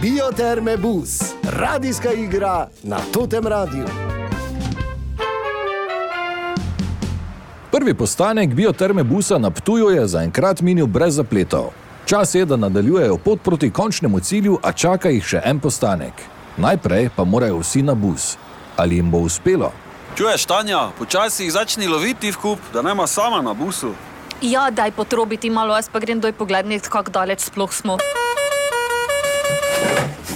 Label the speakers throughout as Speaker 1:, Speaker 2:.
Speaker 1: Bioterme Bus, radijska igra na totem radiju.
Speaker 2: Prvi postanek bioterme busa na Ptuju je zaenkrat minil brez zapletov. Čas je, da nadaljujejo pot proti končnemu cilju, a čaka jih še en postanek. Najprej pa morajo vsi na bus. Ali jim bo uspelo?
Speaker 3: Čuješ, Tanja, počasi jih začni loviti v kup, da nema sama na busu.
Speaker 4: Ja, daj potrobiti malo, jaz pa grem doj pogledati, kako daleč sploh smo.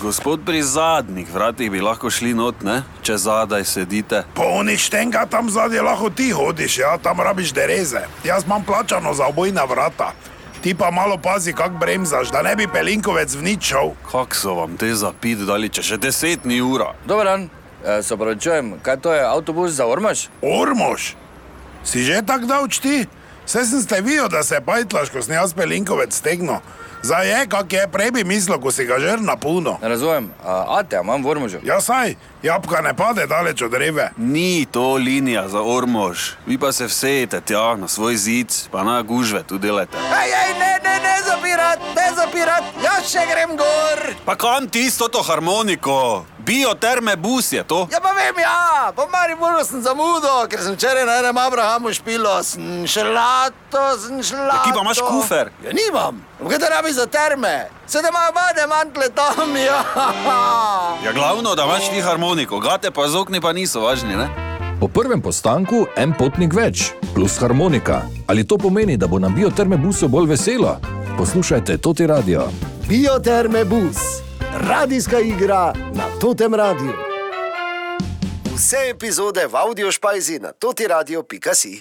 Speaker 3: Gospod pri zadnjih vratih bi lahko šli not, ne? če zadaj sedite.
Speaker 5: Po onih štenga tam zadnji lahko ti hodiš, ja, tam rabiš dereze. Jaz imam plačano za obojna vrata. Ti pa malo pazi, kak bremzaš, da ne bi pelinkovec vničal.
Speaker 3: Kak so vam te zapit dali, če še deset ni ura?
Speaker 6: Dober dan, e, se opravičujem, kaj to je avtobus za Ormaž?
Speaker 5: Ormož, si že tak davč ti? Vse sem ste videl, da se pajtlaš, ko sem jaz pelinkovec stegno. Zdaj je, kak je, prej bi mislil, ko si ga žer na puno.
Speaker 6: Ne razumem, a, ate, imam v Ormažu.
Speaker 5: Ja, saj, jabka ne pade daleč od reve.
Speaker 3: Ni to linija za ormož, vi pa se vsejete tja na svoj zid, pa na gužve tu delate.
Speaker 7: Ej, ej, ne, ne, ne zapirat, ne zapirat, jaz še grem gor.
Speaker 3: Pa kam tisto to harmoniko? Bioterme bus je to?
Speaker 7: Ja, pa vem, ja, po Mariboru sem zamudil, ker sem včeraj na enem Abrahamu špilo, sem šlato, sem šlato.
Speaker 3: Kje pa imaš kufer?
Speaker 7: Ja, nimam. Kaj te rabi za terme? Sedaj imajo vade mantle tam, ja.
Speaker 3: Ja, glavno, da imaš ti harmoniko, gate pa z okni pa niso važni, ne?
Speaker 2: Po prvem postanku en potnik več, plus harmonika. Ali to pomeni, da bo na bioterme busu bolj veselo? Poslušajte Toti Radio.
Speaker 1: Bioterme Bus, radijska igra na totem radiju. Vse epizode v audio špajzi na totiradio.si.